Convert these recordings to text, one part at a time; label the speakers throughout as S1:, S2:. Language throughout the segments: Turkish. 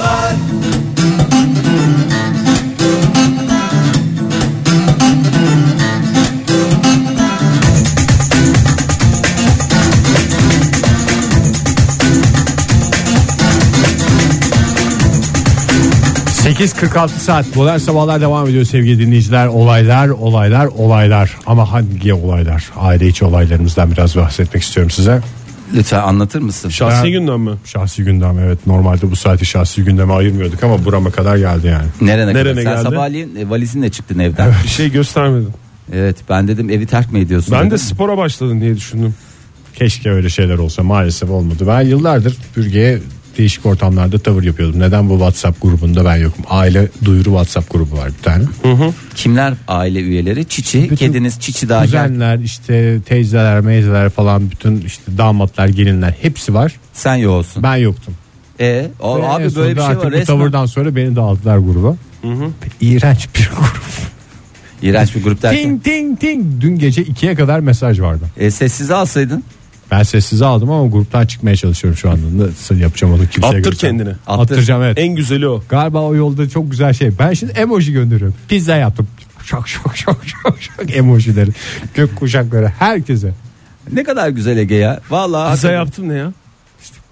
S1: sabahlar
S2: Sabahlar. 8.46 saat modern sabahlar devam ediyor sevgili dinleyiciler olaylar olaylar olaylar ama hangi olaylar aile içi olaylarımızdan biraz bahsetmek istiyorum size
S3: Lütfen anlatır mısın?
S4: Şahsi gündem mi?
S2: şahsi gündem evet normalde bu saati şahsi gündeme ayırmıyorduk ama burama kadar geldi yani
S3: Nerene,
S4: Nerene
S3: kadar? Sen
S4: geldi?
S3: sabahleyin e, valizinle çıktın evden. Evet.
S4: Bir şey göstermedin.
S3: ben dedim evi terk mi ediyorsun?
S4: Ben de
S3: dedim.
S4: spora başladın diye düşündüm.
S2: keşke öyle şeyler olsa maalesef olmadı ben yıllardır bürgeye değişik ortamlarda tavır yapıyordum neden bu whatsapp grubunda ben yokum aile duyuru whatsapp grubu var bir tane
S3: Kimler aile üyeleri? Çiçi, kediniz Çiçi daha gel.
S2: Kuzenler işte teyzeler meyzeler falan bütün işte damatlar gelinler hepsi var.
S3: Sen yoğulsun.
S2: Ben yoktum.
S3: E, o,
S2: Ve en
S3: abi
S2: sonunda
S3: böyle bir şey
S2: artık
S3: var.
S2: bu
S3: Resmen
S2: tavırdan sonra beni de aldılar gruba. İğrenç bir grup.
S3: iğrenç bir grup derken.
S2: ting ting ting. Dün gece ikiye kadar mesaj vardı.
S3: E, sessize alsaydın.
S2: Ben sessize aldım ama gruptan çıkmaya çalışıyorum şu anda. Nasıl yapacağım onu kimseye
S4: Attır
S2: göstermem.
S4: kendini.
S3: Attır.
S2: Attıracağım evet.
S4: En güzeli o.
S2: Galiba o yolda çok güzel şey. Ben şimdi emoji gönderiyorum. Pizza yaptım. Şok şok şok şok şok emojileri. Gök kuşakları herkese.
S3: Ne kadar güzel Ege ya. Vallahi
S4: Pizza
S3: hakikaten.
S4: yaptın ne ya?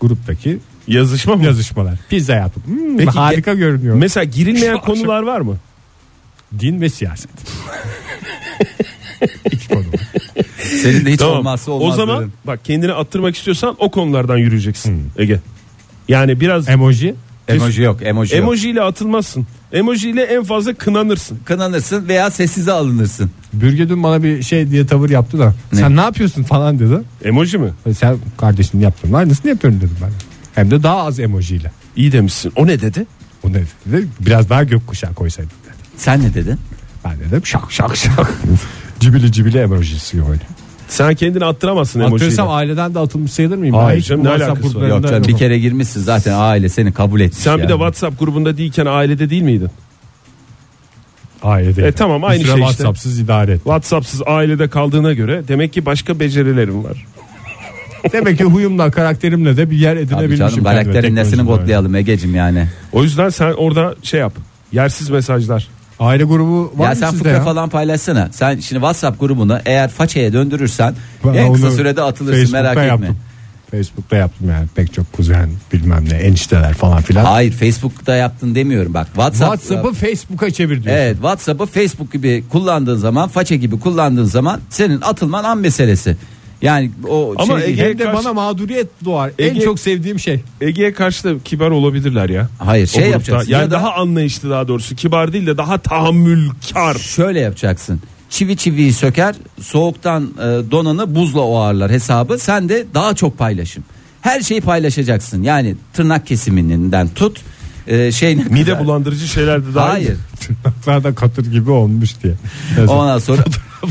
S2: Gruptaki
S4: Yazışma mı?
S2: yazışmalar. Pizza yaptım. Hmm,
S4: Peki,
S2: harika görünüyor.
S4: Mesela girilmeyen
S2: Şu akşam-
S4: konular var mı?
S2: Din ve siyaset. İki konu. var.
S3: Senin de hiç olmazsa olmaz.
S4: o zaman
S3: dedin.
S4: bak kendini attırmak istiyorsan o konulardan yürüyeceksin Ege. Yani biraz
S2: Emoji.
S3: emoji yok, emoji, yok.
S4: emoji ile atılmazsın. Emoji ile en fazla kınanırsın.
S3: Kınanırsın veya sessize alınırsın.
S2: Bürge dün bana bir şey diye tavır yaptı da. Sen ne yapıyorsun falan dedi.
S4: Emoji mi?
S2: E, Sen kardeşinin yaptığının aynısını yapıyorum dedim ben. Hem de daha az emojiyle.
S4: İyi demişsin. O ne dedi?
S2: O ne dedi? Dedi, Biraz daha gökkuşağı koysaydık dedi.
S3: Sen ne dedin?
S2: Ben dedim şak şak şak. cibili cibili emojisi öyle.
S4: Sen kendini attıramazsın emoji ile.
S2: Atıyorsam aileden de atılmış sayılır mıyım?
S4: Hayır
S2: Ben hiç
S4: canım, ne
S2: WhatsApp
S4: alakası var?
S2: gruplarında
S3: Yok canım bir
S2: yokum.
S3: kere girmişsin zaten aile seni kabul etmiş.
S4: Sen bir
S3: yani.
S4: de WhatsApp grubunda değilken ailede değil miydin?
S2: Ailede.
S4: E, tamam,
S2: Bir
S4: aynı
S2: süre
S4: şey işte.
S2: WhatsApp'sız idare et.
S4: WhatsApp'sız ailede kaldığına göre demek ki başka becerilerim var.
S2: Demek ki huyumla karakterimle de bir yer
S3: Tabii
S2: edinebilmişim.
S3: canım
S2: kendime.
S3: karakterin nesini
S2: Teknolojiden.
S3: botlayalım Ege'cim yani.
S4: O yüzden sen orada şey yap. Yersiz mesajlar.
S2: Aile grubu var
S3: ya
S2: mı
S3: sen
S2: sizde
S3: fıkra
S2: ya?
S3: falan paylaşsana. Sen şimdi WhatsApp grubunu eğer façeye döndürürsen
S2: Ben
S3: en kısa
S2: onu
S3: sürede atılırsın merak
S2: Facebook'ta
S3: etme.
S2: yaptım. Facebook'ta yaptım yani pek çok kuzen bilmem ne enişteler falan filan.
S3: Hayır Facebook'ta yaptın demiyorum bak. WhatsApp,
S2: WhatsApp'ı Facebook'a çevir diyorsun.
S3: Evet WhatsApp'ı Facebook gibi kullandığın zaman façe gibi kullandığın zaman senin atılman an meselesi. Yani o
S4: Ama
S3: şey-
S4: Ege-
S2: Hem de
S4: Karşı-
S2: bana mağduriyet doğar. en
S4: Ege-
S2: çok sevdiğim şey.
S4: Ege'ye karşı da kibar olabilirler ya.
S3: Hayır,
S4: O
S3: şey
S4: grupta.
S3: yapacaksın
S4: Yani
S3: ya da-
S4: daha anlayışlı daha doğrusu. Kibar değil de daha tahammülkar.
S3: şöyle yapacaksın. Çivi çiviyi söker, soğuktan e, donanı buzla oğarlar hesabı. Sen de daha çok paylaşım. Her şeyi paylaşacaksın. Yani tırnak kesiminden tut e, şeyine
S4: Mide
S3: kadar.
S4: bulandırıcı şeyler de daha
S3: Hayır.
S2: Tırnaklarda katır gibi olmuş diye. Yazın.
S3: Ondan sonra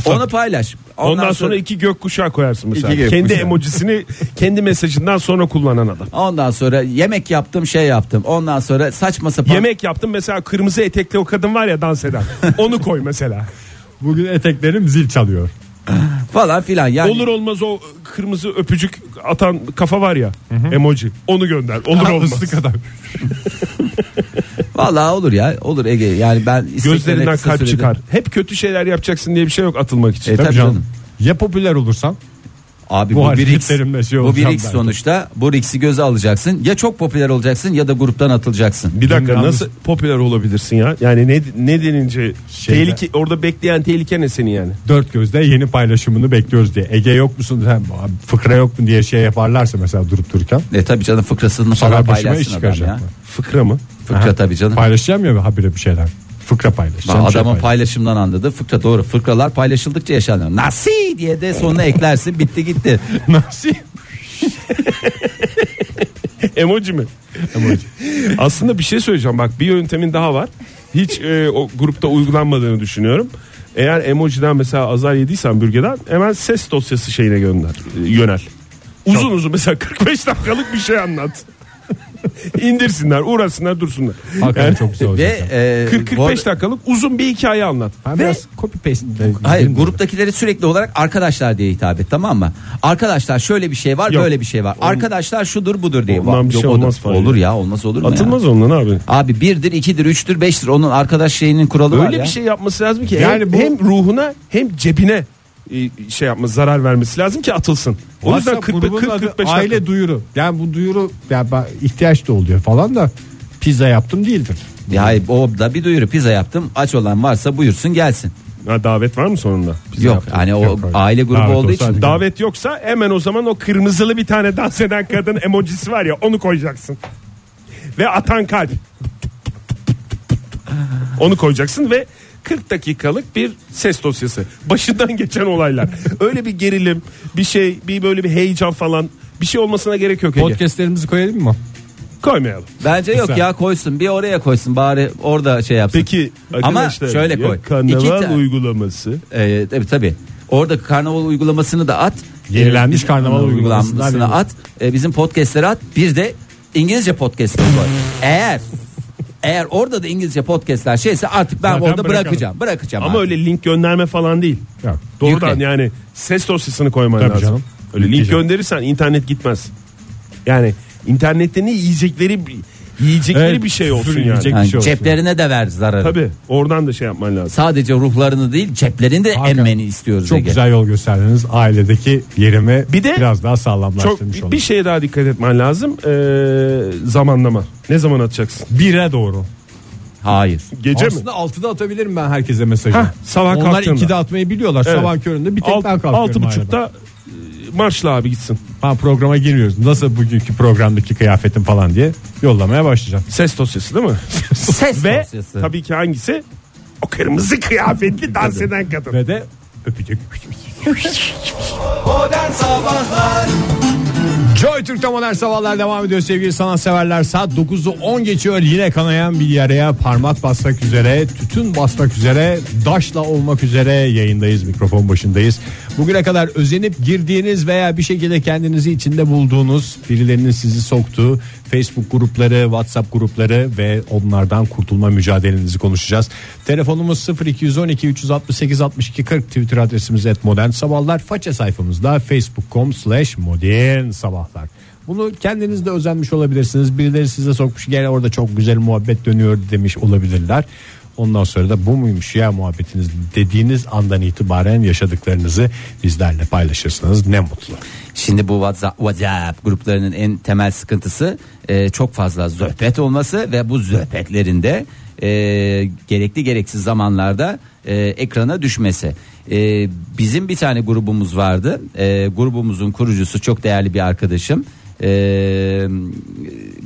S3: onu paylaş.
S4: Ondan, sonra, iki gökkuşağı koyarsın mesela.
S3: İki gökkuşağı.
S4: Kendi emojisini kendi mesajından sonra kullanan adam.
S3: ondan sonra yemek yaptım, şey yaptım. Ondan sonra saçma sapan
S4: Yemek yaptım mesela kırmızı etekli o kadın var ya dans eden. Onu koy mesela.
S2: Bugün eteklerim zil çalıyor.
S3: falan filan. Yani
S4: Olur olmaz o kırmızı öpücük atan kafa var ya emoji. Onu gönder. Olur
S2: Olur
S4: olmaz.
S2: kadar.
S3: vallahi olur ya. Olur Ege. Yani ben isteklerine
S4: Gözlerinden
S3: kısa
S4: kalp
S3: sürede-
S4: çıkar. Hep kötü şeyler yapacaksın diye bir şey yok atılmak için.
S3: E, tabii
S2: Tabii
S3: canım.
S2: canım. Ya popüler olursam
S3: Abi
S2: Bu
S3: bu, bir X,
S2: hareketlerimle şey
S3: bu bir
S2: olacağım
S3: X
S2: ben.
S3: sonuçta. Bu X'i göze alacaksın. Ya çok popüler olacaksın ya da gruptan atılacaksın.
S4: Bir dakika
S2: Yalnız-
S4: nasıl popüler olabilirsin ya? Yani ne ne denince
S2: Şeyde-
S4: tehlike orada bekleyen tehlike ne seni yani?
S2: dört gözle yeni paylaşımını bekliyoruz diye. Ege yok musun sen abi fıkra yok mu diye şey yaparlarsa mesela durup dururken.
S3: E tabii canım fıkrasını falan
S2: Sana başıma iş
S3: paylaşsın adam ya.
S2: çıkaracak. mı?
S4: Fıkra mı?
S3: Fıkra tabii canım.
S2: Paylaşacağım ya habire bir şeyler. Fıkra
S3: Bak,
S2: paylaşacağım. bir şey
S3: adamın
S2: paylaş-
S3: paylaşımdan anladı. Fıkra doğru. Fıkralar paylaşıldıkça yaşanır. Nasi diye de sonuna eklersin. Bitti gitti.
S2: Nasıl?
S4: Emoji mi? Emoji. Aslında bir şey söyleyeceğim bak bir yöntemin daha var. Hiç e, o grupta uygulanmadığını düşünüyorum. Eğer emojiden mesela azar yediysen bürgeden hemen ses dosyası şeyine gönder, e, yönel. Uzun uzun mesela 45 dakikalık bir şey anlat. İndirsinler, uğraşsınlar, dursunlar.
S2: Hakikaten
S4: Yani
S2: çok güzel olacak.
S3: Ve e, bu
S4: 40-45
S3: arada-
S4: dakikalık uzun bir hikaye anlat.
S3: ve-
S2: ben biraz copy paste
S3: Hayır gruptakileri sürekli olarak arkadaşlar diye hitap et tamam mı? Arkadaşlar şöyle bir şey var
S4: Yok.
S3: böyle bir şey var. Arkadaşlar şudur budur diye.
S4: Ondan bir şey
S3: odur.
S4: olmaz Fahir.
S3: Olur ya olmaz olur mu
S4: Atılmaz
S3: ya?
S4: ondan abi.
S3: Abi birdir ikidir üçtür beştir onun arkadaş şeyinin kuralı var
S4: Öyle
S3: ya.
S4: bir şey yapması lazım ki
S2: Yani
S4: hem,
S2: bu-
S4: hem ruhuna hem cebine e, şey yapması zarar vermesi lazım ki atılsın. O yüzden 40
S2: grubun adı
S4: 45
S2: aile
S4: dakika.
S2: duyuru. Yani bu duyuru yani ben- ihtiyaç da oluyor falan da pizza yaptım değildir.
S3: Ya hayır, o da bir duyuru pizza yaptım aç olan varsa buyursun gelsin.
S4: Ha, davet var mı sonunda?
S3: yok
S2: yaptım.
S3: hani o
S2: Yok, hayır.
S3: aile grubu
S2: Davet
S3: olduğu
S2: olsa
S3: için
S2: hadi.
S4: Davet yoksa hemen o zaman o kırmızılı bir tane dans eden kadın emojisi var ya onu koyacaksın. Ve atan kalp. Onu koyacaksın ve 40 dakikalık bir ses dosyası. Başından geçen olaylar. Öyle bir gerilim, bir şey, bir böyle bir heyecan falan. Bir şey olmasına gerek yok Ege.
S2: Podcastlerimizi koyalım mı?
S4: Koymayalım.
S3: Bence yok
S2: Güzel.
S3: ya koysun bir oraya koysun bari orada şey yapsın.
S4: Peki
S3: ama
S4: arkadaşlar
S3: şöyle
S4: ya,
S3: koy.
S4: Karnaval
S3: İki ta-
S4: uygulaması.
S3: Ee, tabii tabii. Orada karnaval uygulamasını da at.
S2: Yenilenmiş
S3: Ee, bizim
S2: karnaval uygulamasını da
S3: at. Ee, bizim podcastleri at. Bir de İngilizce podcastleri koy. Eğer eğer orada da İngilizce podcastler şeyse artık ben
S4: Zaten
S3: orada
S4: bırakalım.
S3: bırakacağım. Bırakacağım.
S4: Ama
S3: abi.
S4: öyle link gönderme falan değil.
S2: Yok.
S4: Doğrudan
S3: Yükle.
S4: yani ses dosyasını koyman
S2: Tabii
S4: lazım.
S2: canım.
S4: Öyle link
S2: Yükleyeceğim.
S4: gönderirsen internet gitmez. Yani internette ne yiyecekleri yiyecekleri
S2: Evet,
S4: bir şey olsun yani.
S2: yiyecek.
S3: Yani
S2: bir şey olsun.
S3: ceplerine de ver zararı.
S4: Tabii oradan da şey yapman lazım.
S3: Sadece ruhlarını değil ceplerini de
S2: Hakikaten.
S3: emmeni istiyoruz.
S2: Çok
S3: Ege.
S2: güzel yol gösterdiniz. Ailedeki yerimi
S4: Bir de-
S2: biraz daha
S4: Çok
S2: sağlamlaştırmış olduk.
S4: bir şey şeye daha dikkat etmen lazım. Ee, zamanlama. Ne zaman atacaksın?
S2: Bire doğru.
S3: Hayır.
S4: Gece mi?
S2: Aslında 6'da atabilirim ben herkese mesajı.
S4: Hah, sabah
S2: Onlar
S4: kalktığında.
S2: 2'de atmayı biliyorlar.
S4: Evet.
S2: Sabah köründe bir tek
S4: Alt-
S2: ben kalkıyorum.
S4: Altı
S2: aileden.
S4: buçukta e, marşla abi gitsin.
S2: Ha programa girmiyoruz. Nasıl bugünkü programdaki kıyafetim falan diye yollamaya başlayacağım.
S4: Ses dosyası değil mi?
S3: Ses
S4: Ve
S3: dosyası.
S4: tabii ki hangisi? O kırmızı kıyafetli dans eden kadın.
S2: Ve de öpücük.
S1: Modern Sabahlar
S2: Joy Türk'te modern sabahlar devam ediyor sevgili sanatseverler. Saat 9'u 10 geçiyor. Yine kanayan bir yaraya parmak basmak üzere, tütün basmak üzere, daşla olmak üzere yayındayız. Mikrofon başındayız. Bugüne kadar özenip girdiğiniz veya bir şekilde kendinizi içinde bulduğunuz, birilerinin sizi soktuğu Facebook grupları, WhatsApp grupları ve onlardan kurtulma mücadelenizi konuşacağız. Telefonumuz 0212 368 62 40 Twitter adresimiz et modern sabahlar. Faça sayfamızda facebook.com slash modern sabahlar. Bunu kendiniz de özenmiş olabilirsiniz. Birileri size sokmuş gel orada çok güzel muhabbet dönüyor demiş olabilirler. Ondan sonra da bu muymuş ya muhabbetiniz dediğiniz andan itibaren yaşadıklarınızı bizlerle paylaşırsanız ne mutlu.
S3: Şimdi bu WhatsApp, WhatsApp gruplarının en temel sıkıntısı e, çok fazla zöhbet olması ve bu zöhbetlerinde gerekli gereksiz zamanlarda e, ekrana düşmesi. E, bizim bir tane grubumuz vardı. E, grubumuzun kurucusu çok değerli bir arkadaşım. E,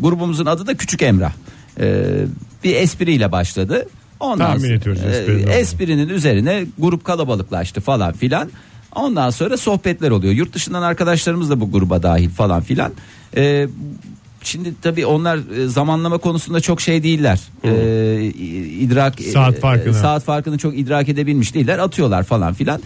S3: grubumuzun adı da Küçük Emrah. E, bir espriyle başladı. Ondan
S2: Tahmin
S3: sonra-
S2: ediyoruz
S3: e,
S2: esprinin
S3: es-
S2: olduğunu.
S3: esprinin üzerine grup kalabalıklaştı falan filan. Ondan sonra sohbetler oluyor. Yurt dışından arkadaşlarımız da bu gruba dahil falan filan. Ee, şimdi tabii onlar e, zamanlama konusunda çok şey değiller. Ee, i- idrak
S2: Saat
S3: e,
S2: farkını.
S3: saat farkını çok idrak edebilmiş değiller. Atıyorlar falan filan.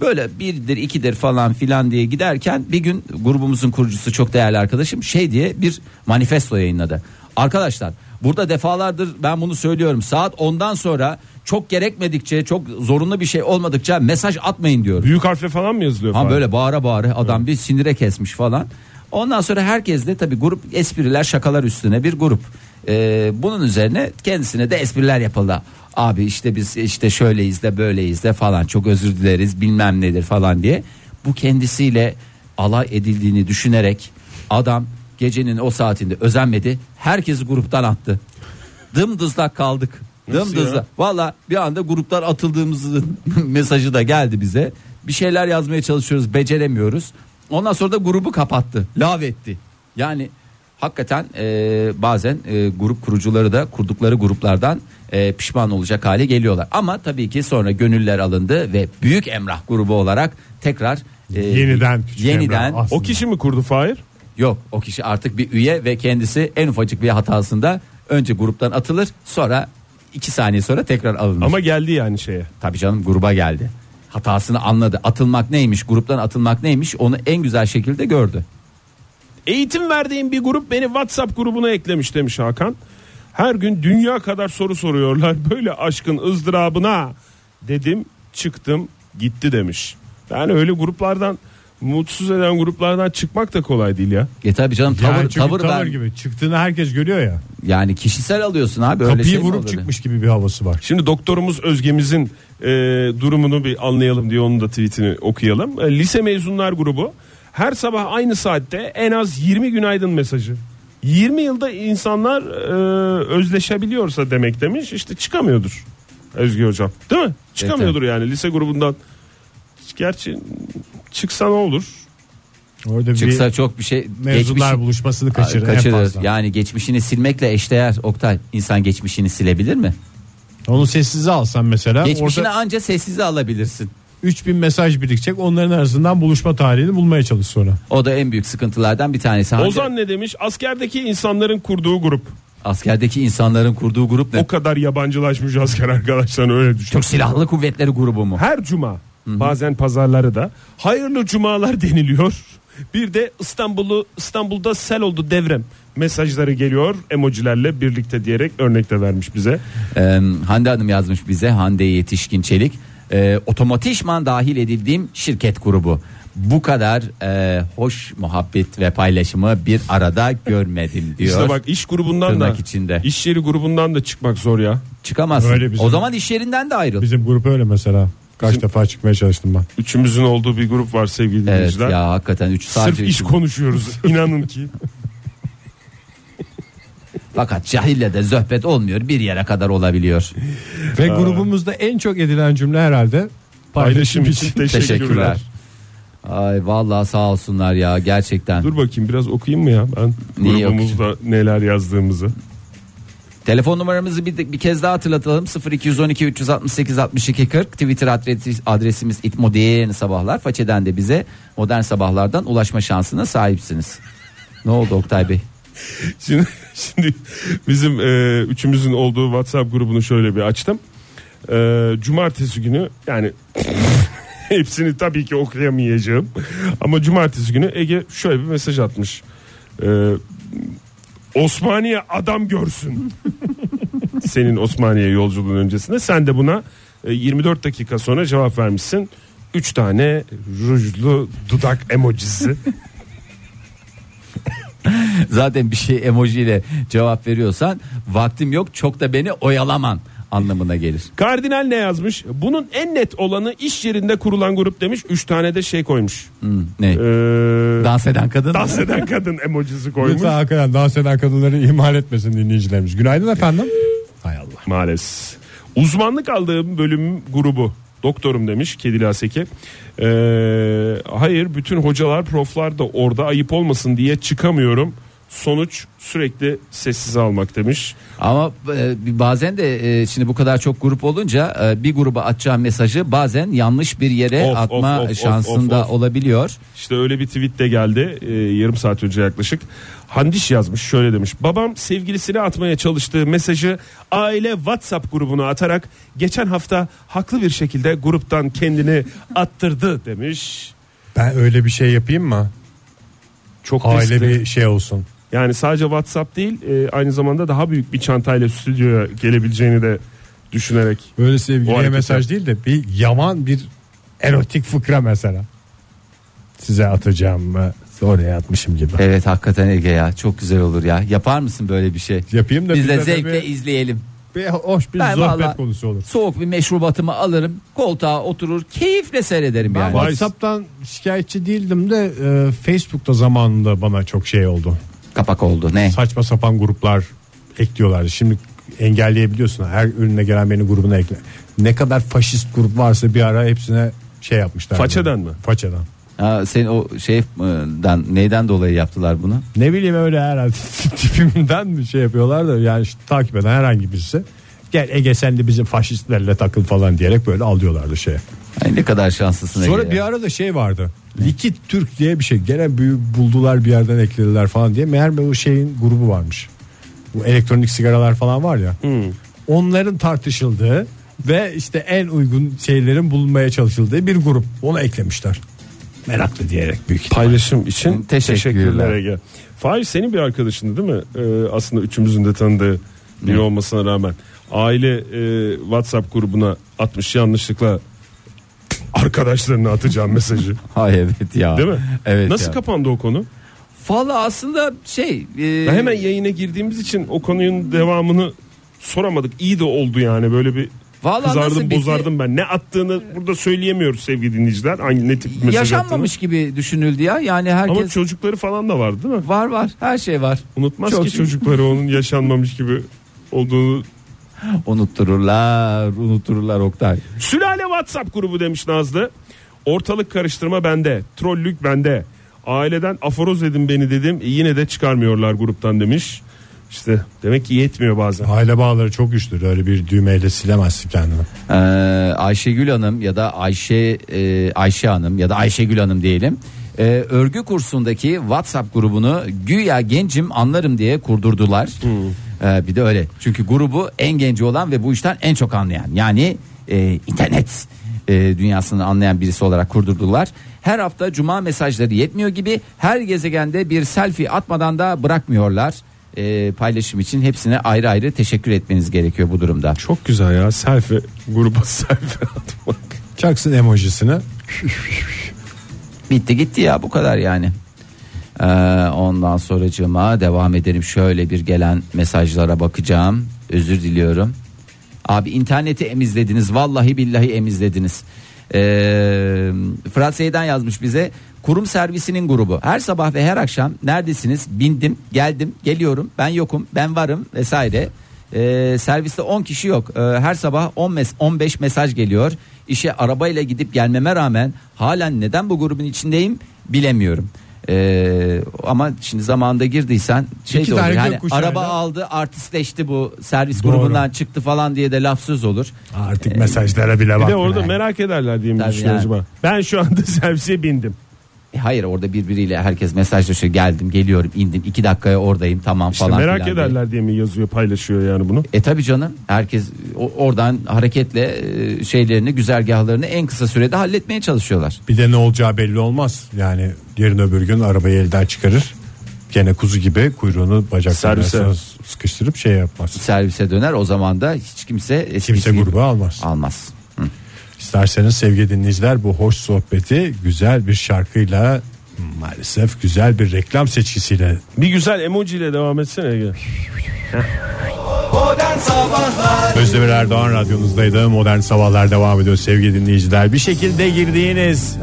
S3: Böyle birdir ikidir falan filan diye giderken bir gün grubumuzun kurucusu çok değerli arkadaşım şey diye bir manifesto yayınladı. Arkadaşlar burada defalardır ben bunu söylüyorum saat 10'dan sonra çok gerekmedikçe çok zorunlu bir şey olmadıkça mesaj atmayın diyorum.
S4: Büyük harfle falan mı yazılıyor?
S3: Ha
S4: falan?
S3: böyle bağıra bağıra adam bir sinire kesmiş falan. Ondan sonra herkes de tabii grup espriler şakalar üstüne bir grup. Ee, bunun üzerine kendisine de espriler yapıldı. Abi işte biz işte şöyleyiz de böyleyiz de falan çok özür dileriz bilmem nedir falan diye. Bu kendisiyle alay edildiğini düşünerek adam gecenin o saatinde özenmedi. Herkesi gruptan attı. Dımdızlak kaldık.
S4: Nasıl ya?
S3: Dımdızlak. Valla bir anda gruptan atıldığımızın mesajı da geldi bize. Bir şeyler yazmaya çalışıyoruz, beceremiyoruz. Ondan sonra da grubu kapattı, lav etti. Yani hakikaten e, bazen e, grup kurucuları da kurdukları gruplardan e, pişman olacak hale geliyorlar. Ama tabii ki sonra gönüller alındı ve Büyük Emrah grubu olarak tekrar e,
S2: Yeniden Küçük
S3: yeniden
S2: Emrah.
S4: O kişi mi kurdu Fahir?
S3: Yok o kişi artık bir üye ve kendisi en ufacık bir hatasında önce gruptan atılır sonra iki saniye sonra tekrar alınır. Ama
S4: Ama geldi yani şeye.
S3: tabii canım gruba geldi. Hatasını anladı. Atılmak neymiş, gruptan atılmak neymiş onu en güzel şekilde gördü.
S4: Eğitim verdiğim bir grup beni WhatsApp grubuna eklemiş demiş Hakan. Her gün dünya kadar soru soruyorlar. Böyle aşkın ızdırabına dedim çıktım gitti demiş. Yani öyle gruplardan mutsuz eden gruplardan çıkmak da kolay değil ya.
S3: E tabii canım tavır,
S2: yani çünkü
S3: tavır,
S2: tavır
S3: ben-
S2: gibi çıktığını herkes görüyor ya.
S3: yani kişisel alıyorsun abi. öyle
S2: Kapıyı
S3: şey mi
S2: vurup
S3: olur?
S2: çıkmış gibi bir havası var.
S4: Şimdi doktorumuz Özge'mizin e, durumunu bir anlayalım diye onun da tweetini okuyalım. E, lise mezunlar grubu her sabah aynı saatte en az 20 günaydın mesajı. 20 yılda insanlar e, özleşebiliyorsa demek demiş işte çıkamıyordur Özge hocam değil mi? Çıkamıyordur yani lise grubundan. Gerçi çıksa ne olur?
S2: Orada
S3: Çıksa çok bir şey
S2: bir mevzular buluşmasını kaçırır, en fazla.
S3: Yani geçmişini silmekle eşdeğer Oktay. İnsan geçmişini silebilir mi?
S2: Onu sessize alsan mesela
S3: Geçmişini
S2: orada
S3: anca sessize alabilirsin.
S2: 3000 mesaj birikecek. Onların arasından buluşma tarihini bulmaya çalış sonra.
S3: O da en büyük sıkıntılardan bir tanesi. Hangi-
S4: Ozan ne demiş? Askerdeki insanların kurduğu grup.
S3: Askerdeki insanların kurduğu grup ne?
S4: O kadar yabancılaşmış asker arkadaşlarını öyle düşün.
S3: Türk Silahlı Kuvvetleri grubu mu?
S4: her cuma bazen pazarları da hayırlı cumalar deniliyor. Bir de İstanbul'u İstanbul'da sel oldu devrem mesajları geliyor emojilerle birlikte diyerek örnek de vermiş bize.
S3: Ee, Hande Hanım yazmış bize Hande Yetişkin Çelik Ee, otomatikman dahil edildiğim şirket grubu bu kadar e, hoş muhabbet ve paylaşımı bir arada görmedim diyor.
S4: İşte bak iş grubundan da
S3: Tırnak içinde.
S4: iş yeri grubundan da çıkmak zor ya.
S3: Çıkamazsın.
S2: Öyle bizim-
S3: O zaman iş yerinden de ayrıl.
S2: Bizim grup öyle mesela. Kaç
S4: Bizim-
S2: defa çıkmaya çalıştım ben.
S4: Üçümüzün olduğu bir grup var sevgili
S3: Evet
S4: dinleyiciler.
S3: ya hakikaten 3 saat.
S4: Sırf iş konuşuyoruz inanın ki.
S3: Fakat cahille de zöhbet olmuyor. Bir yere kadar olabiliyor.
S2: Ve grubumuzda en çok edilen cümle herhalde
S4: Paylaşım için teşekkürler.
S3: Teşekkürler. Ay vallahi sağ olsunlar ya gerçekten.
S4: Dur bakayım biraz okuyayım mı ya ben
S3: Neyi
S4: grubumuzda neler yazdığımızı.
S3: Telefon numaramızı bir, bir kez daha hatırlatalım. 0212 368 62 40 Twitter adresi, adresimiz itmodern sabahlar. Façeden de bize modern sabahlardan ulaşma şansına sahipsiniz. Ne oldu Oktay Bey?
S4: Şimdi, şimdi bizim e, üçümüzün olduğu WhatsApp grubunu şöyle bir açtım. E, cumartesi günü yani hepsini tabii ki okuyamayacağım. Ama cumartesi günü Ege şöyle bir mesaj atmış. E, Osmaniye adam görsün. Senin Osmaniye yolculuğun öncesinde sen de buna e, 24 dakika sonra cevap vermişsin. 3 tane rujlu dudak emojisi.
S3: Zaten bir şey emojiyle cevap veriyorsan vaktim yok çok da beni oyalaman anlamına gelir.
S4: Kardinal ne yazmış? Bunun en net olanı iş yerinde kurulan grup demiş. Üç tane de şey koymuş.
S3: Hı, ne?
S4: Ee,
S3: Dans eden kadın.
S4: dans eden kadın emojisi koymuş.
S2: Lütfen hakikaten dans eden kadınları ihmal etmesin dinleyicilerimiz. Günaydın efendim. Hay Allah.
S4: Maalesef. Uzmanlık aldığım bölüm grubu. Doktorum demiş Kedili Aseki. Ee, hayır bütün hocalar proflar da orada ayıp olmasın diye çıkamıyorum. Sonuç sürekli sessize almak demiş.
S3: Ama e, bazen de e, şimdi bu kadar çok grup olunca e, bir gruba atacağım mesajı bazen yanlış bir yere
S4: Of, of,
S3: atma
S4: of, of,
S3: şansında
S4: of, of.
S3: olabiliyor.
S4: İşte öyle bir tweet de geldi e, yarım saat önce yaklaşık. Handiş yazmış şöyle demiş. Babam sevgilisine atmaya çalıştığı mesajı aile WhatsApp grubuna atarak geçen hafta haklı bir şekilde gruptan kendini attırdı demiş.
S2: Ben öyle bir şey yapayım mı?
S4: Çok
S2: Aile
S4: riskli.
S2: bir şey olsun.
S4: Yani sadece WhatsApp değil e, aynı zamanda daha büyük bir çantayla stüdyoya gelebileceğini de düşünerek.
S2: Böyle
S4: O
S2: sevgiliye
S4: hareketler-
S2: mesaj değil de bir yaman bir erotik fıkra mesela. Size atacağım mı? Oraya atmışım gibi.
S3: Evet hakikaten Ege ya çok güzel olur ya. Yapar mısın böyle bir şey?
S2: Yapayım da
S3: Biz de
S2: bize de
S3: zevkle
S2: bir-
S3: izleyelim.
S2: Bir hoş bir
S3: Ben
S2: sohbet
S3: vallahi-
S2: konusu olur.
S3: Soğuk bir meşrubatımı alırım, koltuğa oturur, keyifle seyrederim
S2: Ben
S3: yani.
S2: WhatsApp'tan şikayetçi değildim de e, Facebook'ta zamanında bana çok şey oldu.
S3: Kapak oldu ne?
S2: Saçma sapan gruplar ekliyorlardı. Şimdi engelleyebiliyorsun. Her önüne gelen beni grubuna ekle. Ne kadar faşist grup varsa bir ara hepsine şey yapmışlar.
S4: Façeden mi?
S2: Façeden.
S3: Ha, senin o şeyden neyden dolayı yaptılar bunu?
S2: Ne bileyim öyle herhalde tipimden mi şey yapıyorlar da yani işte takip eden herhangi birisi gel Ege sen de bizim faşistlerle takıl falan diyerek böyle alıyorlardı şeye.
S3: Ay, ne kadar şanslısın Ege.
S2: Sonra
S3: ya.
S2: bir arada şey vardı. Likit Türk diye bir şey. Gene bir buldular bir yerden eklediler falan diye. Meğer o şeyin grubu varmış. Bu elektronik sigaralar falan var ya.
S4: Hmm.
S2: Onların tartışıldığı ve işte en uygun şeylerin bulunmaya çalışıldığı bir grup. Onu eklemişler. meraklı diyerek büyük ihtimal.
S4: Paylaşım için
S3: Teşekkürler.
S4: teşekkürler Ege. Fahir senin bir arkadaşındı değil mi? Ee, aslında üçümüzün de tanıdığı biri olmasına rağmen aile e, WhatsApp grubuna atmış yanlışlıkla arkadaşlarına atacağım mesajı.
S3: Hay evet ya.
S4: Değil mi?
S3: Evet.
S4: Nasıl
S3: ya.
S4: kapandı o konu?
S3: Valla aslında şey. e,
S4: Ya hemen yayına girdiğimiz için o konunun devamını soramadık. İyi de oldu yani böyle bir
S3: Vallahi nasıl
S4: kızardım
S3: bitti?
S4: bozardım ben. Ne attığını burada söyleyemiyoruz sevgili dinleyiciler. Hangi ne tip mesaj
S3: şey? yaşanmamış gibi düşünüldü ya. Yani
S4: attığını.
S3: herkes
S4: Ama çocukları falan da vardı değil mi?
S3: var var her şey var.
S4: Unutmaz
S3: Çok
S4: ki
S3: iyi.
S4: çocukları onun yaşanmamış gibi olduğunu.
S3: Unuttururlar, unuttururlar Oktay.
S4: Sülale WhatsApp grubu demiş Nazlı. Ortalık karıştırma bende, trollük bende. Aileden aforoz edin beni dedim. e, Yine de çıkarmıyorlar gruptan demiş. İşte demek ki yetmiyor bazen.
S2: Aile bağları çok güçlüdür. Öyle bir düğmeyle silemezsin kendini.
S3: Ee, Ayşegül Hanım ya da Ayşe e, Ayşe Hanım ya da Ayşegül Hanım diyelim. Ee, örgü kursundaki WhatsApp grubunu güya gencim anlarım diye kurdurdular. Ee, bir de öyle. Çünkü grubu en genci olan ve bu işten en çok anlayan yani e, internet e, dünyasını anlayan birisi olarak kurdurdular. Her hafta cuma mesajları yetmiyor gibi her gezegende bir selfie atmadan da bırakmıyorlar. Ee, paylaşım için hepsine ayrı ayrı teşekkür etmeniz gerekiyor bu durumda.
S4: Çok güzel ya selfie gruba selfie atmak.
S2: Çaksın emojisini.
S3: Bitti gitti ya bu kadar yani. Ee, ondan sonracığıma devam edelim. Şöyle bir gelen mesajlara bakacağım. Özür diliyorum. Abi interneti emizlediniz. Vallahi billahi emizlediniz. Ee, Fırat Seyden yazmış bize. Kurum servisinin grubu. Her sabah ve her akşam neredesiniz? Bindim, geldim, geliyorum. Ben yokum, ben varım vesaire. Ee, serviste 10 kişi yok. Ee, her sabah 10 mes 15 mesaj geliyor. İşe arabayla gidip gelmeme rağmen halen neden bu grubun içindeyim bilemiyorum. Ee, ama şimdi zamanında girdiysen şey
S2: İki
S3: de olur.
S2: tane
S3: Yani
S2: gökkuşağıyla-
S3: araba aldı, artistleşti bu servis
S2: Doğru.
S3: grubundan çıktı falan diye de lafsız olur.
S2: Artık mesajlara bile
S4: E, Bir
S2: bak.
S4: de orada merak ederler diye mi
S3: Tabii
S4: düşünüyor
S3: yani.
S4: acaba? Ben şu anda servise bindim.
S3: E, hayır orada birbiriyle herkes mesajlaşıyor. Geldim, geliyorum, indim. iki dakikaya oradayım tamam
S4: İşte
S3: falan.
S4: merak
S3: filan diye.
S4: ederler diye mi yazıyor paylaşıyor yani bunu?
S3: E tabi canım herkes o- oradan hareketle e, şeylerini güzergahlarını en kısa sürede halletmeye çalışıyorlar.
S2: Bir de ne olacağı belli olmaz. Yani yarın öbür gün arabayı elden çıkarır. Gene kuzu gibi kuyruğunu bacaklarına
S4: Servise.
S2: arasına sıkıştırıp şey yapmaz.
S3: Servise döner o zaman da hiç kimse eskisi
S2: Kimse
S3: gibi
S2: gruba almaz.
S3: almaz.
S2: İsterseniz sevgili dinleyiciler bu hoş sohbeti güzel bir şarkıyla maalesef güzel bir reklam seçkisiyle
S4: Bir güzel emoji ile devam etsene Ege.
S2: Özdemir Erdoğan radyonuzdaydı. Modern Sabahlar devam ediyor sevgili dinleyiciler. Bir şekilde girdiğiniz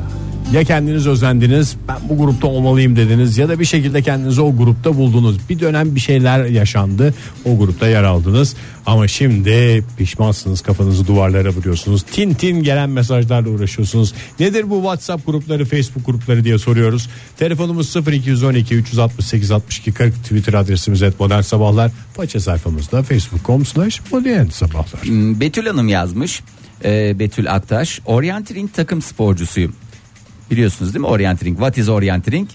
S2: ya kendiniz özendiniz ben bu grupta olmalıyım dediniz ya da bir şekilde kendinizi o grupta buldunuz. Bir dönem bir şeyler yaşandı o grupta yer aldınız ama şimdi pişmansınız kafanızı duvarlara vuruyorsunuz. Tin tin gelen mesajlarla uğraşıyorsunuz. Nedir bu WhatsApp grupları Facebook grupları diye soruyoruz. Telefonumuz 0212 368 62 40 Twitter adresimiz et modern sabahlar. Faça sayfamızda facebook.com slash modern sabahlar.
S3: Hmm, Betül Hanım yazmış. Ee, Betül Aktaş. Orientering takım sporcusuyum. Biliyorsunuz değil mi Orientering? What is Orientering?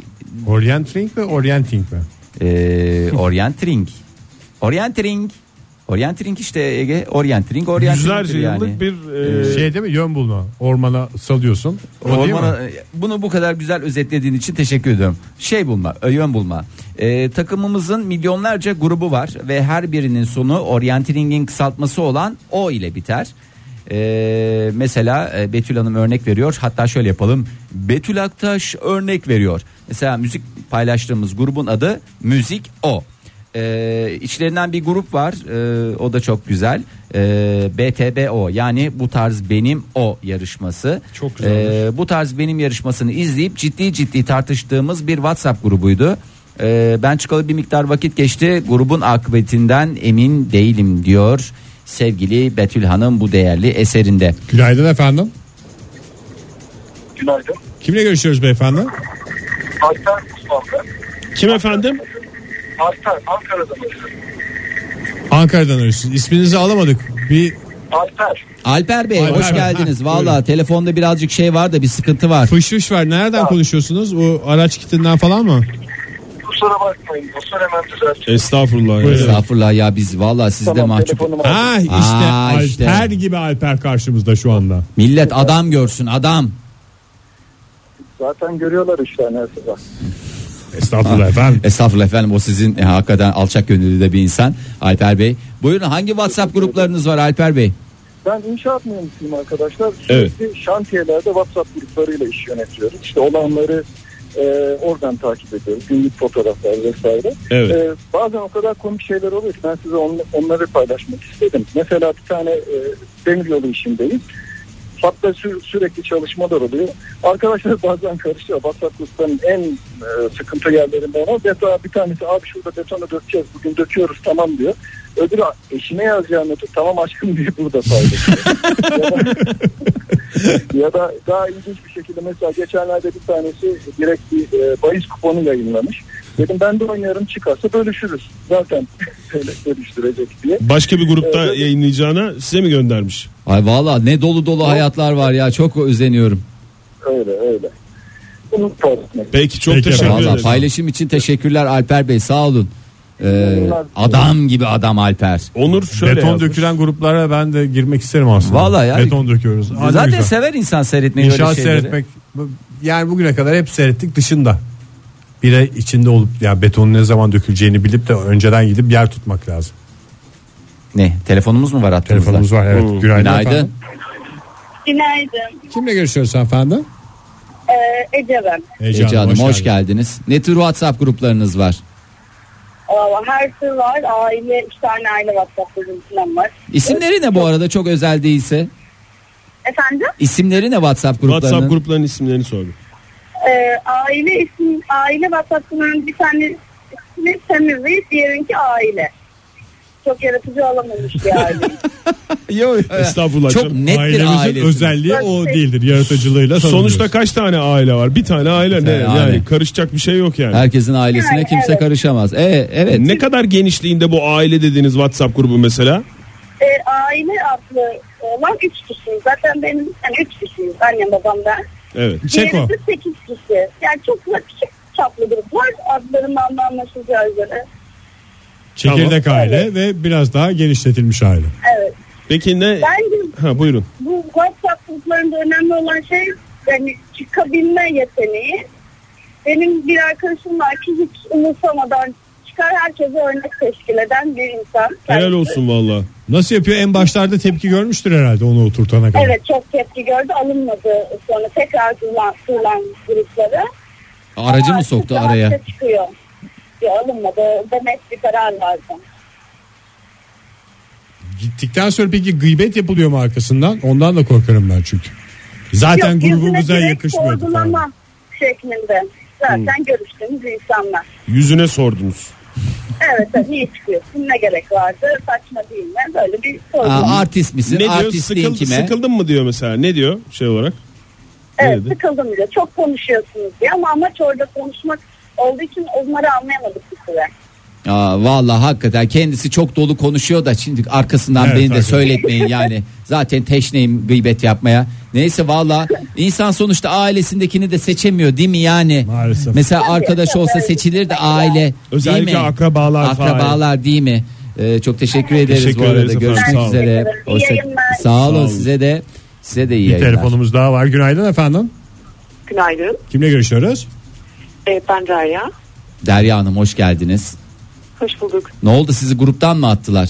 S2: Orient Ring mi Orienting mi?
S3: Ee, Orientering. Orientering. Orientering işte Ege. Orientering. Orientering
S4: Yüzlerce
S3: yani. Ee,
S4: yıllık bir e,
S2: şey değil mi yön bulma ormana salıyorsun. O değil mi?
S3: Ormana, bunu bu kadar güzel özetlediğin için teşekkür ediyorum. Şey bulma, ö- yön bulma. Ee, takımımızın milyonlarca grubu var ve her birinin sonu orienteering'in kısaltması olan O ile biter. Ee, mesela e, Betül Hanım örnek veriyor. Hatta şöyle yapalım. Betül Aktaş örnek veriyor. Mesela müzik paylaştığımız grubun adı Müzik O. Ee, içlerinden bir grup var. Ee, o da çok güzel. Ee, BTBO yani bu tarz benim o yarışması.
S4: Çok güzelmiş.
S3: Ee, bu tarz benim yarışmasını izleyip ciddi ciddi tartıştığımız bir WhatsApp grubuydu. Ee, ben çıkalı bir miktar vakit geçti. Grubun akıbetinden emin değilim diyor sevgili Betül Hanım bu değerli eserinde.
S2: Günaydın efendim.
S1: Günaydın.
S2: Kimle görüşüyoruz beyefendi?
S1: Alper Mustafa.
S4: kim efendim?
S1: Alper Ankara'da mı?
S2: Ankara'dan arıyorsunuz. İsminizi alamadık. Bir
S1: Alper.
S3: Alper Bey
S2: Alper
S3: hoş
S2: Bey,
S3: geldiniz.
S2: ha,
S3: Valla
S2: buyurun.
S3: telefonda birazcık şey var da bir sıkıntı var.
S2: fışış var. Nereden konuşuyorsunuz? O araç kitinden falan mı?
S1: Kusura bakmayın. Kusura hemen düzeltiyorum.
S4: Estağfurullah.
S2: Buyurun.
S4: Ya.
S3: Estağfurullah ya biz valla sizde
S1: Tamam,
S3: mahcup.
S1: telefonumu aldım.
S2: Ha işte
S3: Aa,
S2: Alper
S3: işte.
S2: gibi Alper karşımızda şu anda.
S3: Millet adam görsün adam.
S5: Zaten görüyorlar işlerini her sabah.
S2: Estağfurullah efendim.
S3: Estağfurullah efendim o sizin e, hakikaten alçak gönüllü de bir insan Alper Bey. Buyurun hangi WhatsApp gruplarınız var Alper Bey?
S5: Ben inşaat mühendisiyim arkadaşlar.
S4: Evet.
S5: Sürekli şantiyelerde WhatsApp gruplarıyla iş yönetiyoruz. İşte olanları e, oradan takip ediyoruz. Günlük fotoğraflar vesaire.
S4: Evet.
S5: E, bazen o kadar komik şeyler oluyor ki ben size on- onları paylaşmak istedim. Mesela bir tane e, demir yolu işindeyiz. Hatta sü- sürekli çalışmalar oluyor. Arkadaşlar bazen karışıyor. WhatsApp gruplarının en e, sıkıntı yerlerinden o. Beta, bir tanesi abi şurada betonu dökeceğiz. Bugün döküyoruz tamam diyor. Öbürü eşine yazacağını tamam aşkım diye burada paylaşıyor. ya, da, ya da daha ilginç bir şekilde mesela geçenlerde bir tanesi direkt bir e, bahis kuponu yayınlamış. Dedim ben de oynarım çıkarsa bölüşürüz. Zaten öyle bölüştürecek diye.
S4: Başka bir grupta
S5: Evet.
S4: yayınlayacağına size mi göndermiş?
S3: Ay valla ne dolu dolu hayatlar var ya çok özeniyorum.
S5: Öyle öyle. Bunu paylaşmak
S4: Peki çok
S2: Peki
S4: teşekkür
S2: efendim.
S3: Valla
S4: ederim.
S3: paylaşım için teşekkürler Alper Bey sağ olun. Ee, adam gibi adam Alper.
S4: Onur şöyle
S2: Beton
S4: yazmış.
S2: dökülen gruplara ben de girmek isterim aslında.
S3: Vallahi ya.
S2: Beton döküyoruz. Hadi
S3: Zaten
S2: güzel.
S3: sever insan seyretmeyi
S2: İnşaat
S3: öyle şeyleri.
S2: seyretmek. bu- Yani bugüne kadar hep seyrettik dışında. Bir de içinde olup ya betonun ne zaman döküleceğini bilip de önceden gidip yer tutmak lazım.
S3: Ne telefonumuz mu var hattımızda?
S2: Telefonumuz var evet.
S4: Hmm.
S2: Günaydın.
S3: Günaydın.
S2: efendim.
S6: Günaydın.
S2: Kimle görüşüyoruz efendim?
S6: Ee, Ece ben.
S3: Ece Hanım hoş geldiniz. Ne tür WhatsApp gruplarınız var?
S6: Aa, Her tür var. Aile, üç tane aile WhatsApp grubundan var.
S3: İsimleri ne bu arada çok özel değilse?
S6: Efendim?
S3: İsimleri ne WhatsApp gruplarının?
S4: WhatsApp gruplarının isimlerini sordum.
S6: Ee, aile isim, aile WhatsApp'ının bir tanesi temizliği, diğerinki aile. Çok yaratıcı olamamış bir aile.
S3: Yok, e,
S4: Estağfurullah
S3: Çok
S4: canım.
S3: net bir
S2: Ailemizin
S3: ailesi.
S2: özelliği o değildir yaratıcılığıyla.
S4: Sonuçta kaç tane aile var? Bir tane aile
S3: Bir
S4: ne?
S3: tane
S4: yani
S3: aile.
S4: karışacak bir şey yok yani.
S3: Herkesin ailesine
S6: Yani,
S3: kimse
S6: evet.
S3: karışamaz. E, evet.
S4: Ne kadar genişliğinde bu aile dediğiniz WhatsApp grubu mesela?
S6: Ee, aile adlı olan üç kişi. Zaten benim yani üç kişiyiz. Annem babam ben.
S4: Evet.
S2: Çeko.
S6: Diğerisi sekiz kişi. Yani çok da küçük çaplı gruplar. Adlarından da anlaşılacağı üzere.
S2: Çekirdek aile ve biraz daha genişletilmiş aile.
S6: Evet.
S4: Peki ne?
S6: Bence
S4: Ha buyurun.
S6: bu WhatsApp gruplarında önemli olan şey yani çıkabilme yeteneği. Benim bir arkadaşım var ki hiç umursamadan çıkar herkese örnek teşkil eden bir insan.
S4: Helal
S6: Kendisi-
S4: olsun valla.
S2: Nasıl yapıyor? En başlarda tepki görmüştür herhalde onu oturtana kadar.
S6: Evet çok tepki gördü alınmadı sonra tekrar kurulan, kurulan grupları.
S3: Aracı
S6: Ama
S3: mı soktu
S6: çıktı,
S3: araya?
S6: haklı Çıkıyor. Ya, alınmadı demek bir karar lazım.
S2: Gittikten sonra peki gıybet yapılıyor mu arkasından? Ondan da korkarım ben çünkü. Zaten
S6: Yok, yüzüne
S2: grubumuza
S6: direkt
S2: yakışmıyordu. falan.
S6: Sorgulama şeklinde. Zaten
S3: Hmm.
S6: görüştüğümüz insanlar.
S4: Yüzüne sordunuz.
S6: Evet evet, niye çıkıyorsun ne gerek vardı saçma değil mi böyle bir soru.
S3: Aa, artist misin?
S4: Ne diyor?
S3: Artistliğin
S4: Sıkıl,
S3: kime?
S4: sıkıldın mı diyor mesela? Ne diyor şey olarak?
S6: evet
S4: neydi?
S6: sıkıldım diyor çok konuşuyorsunuz diye ama amaç orada konuşmak olduğu için onları anlayamadık bir süre.
S3: Aa, vallahi hakikaten kendisi çok dolu konuşuyor da şimdi arkasından
S2: Evet,
S3: beni de
S2: hakikaten.
S3: söyletmeyin yani. Zaten teşneyim gıybet yapmaya. Neyse valla insan sonuçta ailesindekini de seçemiyor değil mi yani?
S2: Maalesef.
S3: Mesela arkadaş olsa seçilir de aile
S4: Özellikle
S3: değil mi?
S4: akrabalar falan.
S3: Akrabalar değil mi? Ee, çok teşekkür ederiz
S4: Teşekkür
S3: bu arada.
S4: ederiz efendim,
S3: Görüşmek
S4: sağ olun.
S3: üzere.
S6: İyi yayınlar.
S3: Sağ
S4: Sağ
S3: olun
S4: olun.
S3: size de. Size de iyi
S2: Bir
S3: yayınlar.
S2: telefonumuz daha var. Günaydın efendim.
S7: Günaydın.
S2: Kimle görüşüyoruz?
S7: Ee, ben Derya.
S3: Derya Hanım hoş geldiniz.
S7: Hoş bulduk.
S3: Ne oldu sizi gruptan mı attılar?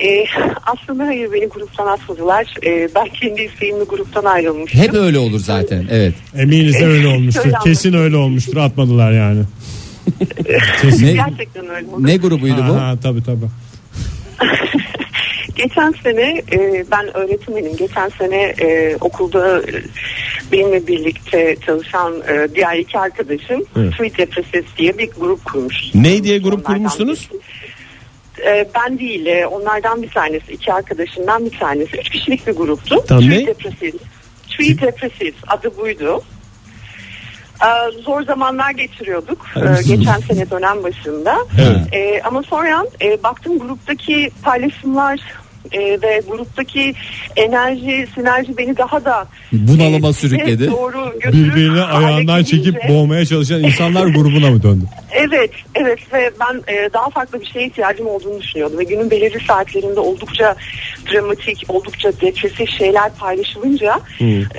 S7: Ee, aslında hayır beni gruptan atmadılar. Ee, ben kendi isteğimle gruptan ayrılmıştım.
S3: Hep öyle olur zaten. Evet.
S2: Eminiz de öyle olmuştur.
S7: Öyle
S2: Kesin öyle olmuştur. Atmadılar yani.
S3: Ne,
S7: Gerçekten öyle oldu.
S3: ne grubuydu bu?
S2: Aha, tabii tabii.
S7: Geçen sene e, ben öğretmenim. Geçen sene e, okulda e, benimle birlikte çalışan e, diğer iki arkadaşım
S4: Evet.
S7: Sweet Depresses diye bir grup kurmuş.
S4: Ne diye grup
S7: Onlardan
S4: kurmuşsunuz?
S7: birisi. Ee, ben değil e, onlardan bir tanesi iki arkadaşından bir tanesi üç kişilik bir gruptu.
S4: Tamam,
S7: Three
S4: ne?
S7: Depressives. Three Depressives adı buydu. Ee, zor zamanlar geçiriyorduk ee, geçen sene dönem başında.
S4: Evet.
S7: Ee, ama sonra e, baktım gruptaki paylaşımlar e, ve gruptaki enerji, sinerji beni daha da
S3: Bunalıma
S7: e,
S3: sürükledi.
S7: Doğru götürüp
S2: Birbirini
S7: hale
S2: ayağından çekip
S7: gelince-
S2: boğmaya çalışan insanlar grubuna mı döndü?
S7: Evet, evet ve ben e, daha farklı bir şeye ihtiyacım olduğunu düşünüyordum. Ve günün belirli saatlerinde oldukça dramatik, oldukça depresif şeyler paylaşılınca...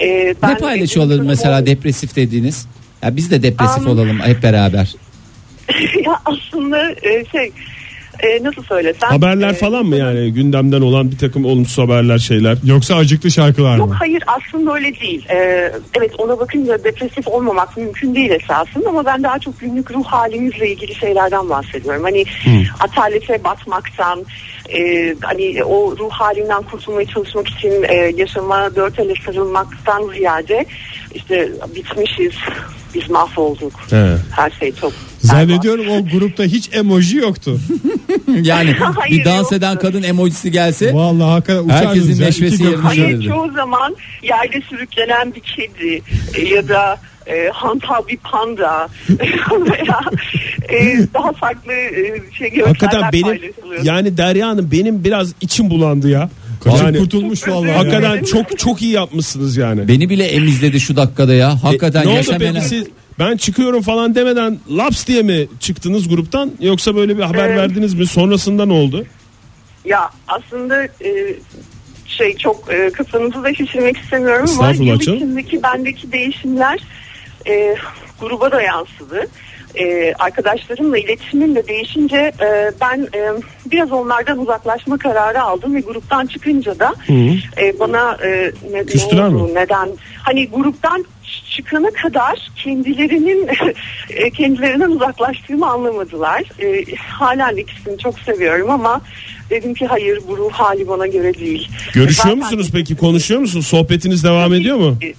S7: e, ben
S3: Ne paylaşıyorlar
S7: dedim,
S3: mesela
S7: "Bu-
S3: depresif dediğiniz? Ya biz de depresif
S7: Am-
S3: olalım hep beraber.
S7: ya aslında e, şey... e, nasıl söylesem
S4: Haberler
S7: e,
S4: falan mı yani gündemden olan bir takım olumsuz haberler şeyler.
S2: Yoksa acıklı şarkılar
S7: Yok
S2: mı?
S7: hayır aslında öyle değil. Ee, evet ona bakınca depresif olmamak mümkün değil esasında ama ben daha çok günlük ruh halimizle ilgili şeylerden bahsediyorum. Hani atalete batmaktan, e, hani o ruh halinden kurtulmaya çalışmak için e, yaşama dört ele sarılmaktan ziyade işte bitmişiz, biz mahvolduk.
S4: He.
S7: Her şey çok
S2: Zannediyorum o grupta hiç emoji yoktu.
S3: Yani
S7: Hayır,
S3: bir dans
S7: yoktu.
S3: eden kadın emojisi gelse
S2: Vallahi hakikaten uçardınız.
S3: Herkesin
S2: ya. İki
S3: neşvesi
S2: köprü-
S4: şey
S3: yerine-
S7: Hayır
S3: Güzel.
S7: çoğu zaman yerde sürüklenen bir kedi e, ya da e, hantal bir panda veya e, daha farklı e, şey görseller
S4: Hakikaten benim
S7: paylaşılıyor.
S4: yani Derya Hanım benim biraz içim bulandı ya.
S2: Kaçıp
S4: Yani
S2: kurtulmuş vallahi. ya.
S4: hakikaten çok çok iyi yapmışsınız yani.
S3: beni bile emizledi şu dakikada ya. Hakikaten
S4: E, ne oldu
S3: yaşam
S4: peki
S3: enerjisi-
S4: siz ben çıkıyorum falan demeden laps diye mi çıktınız gruptan yoksa böyle bir haber
S7: Ee,
S4: verdiniz mi sonrasında ne oldu?
S7: Ya aslında e, şey çok e, kafanızı da şişirmek istemiyorum ama
S4: Estağfurullah
S7: yıl
S4: canım.
S7: içindeki bendeki değişimler e, gruba da yansıdı. E, arkadaşlarımla iletişimim de değişince e, ben e, biraz onlardan uzaklaşma kararı aldım ve gruptan çıkınca da e, bana e, ne, ne
S4: Küstüler mi?
S7: oldu, neden hani gruptan ç- çıkana kadar kendilerinin e, kendilerinden uzaklaştığımı anlamadılar. E, halen ikisini çok seviyorum ama dedim ki hayır bu ruh hali bana göre değil.
S4: Görüşüyor
S7: Zaten-
S4: musunuz peki konuşuyor musunuz sohbetiniz devam ediyor mu?
S7: E,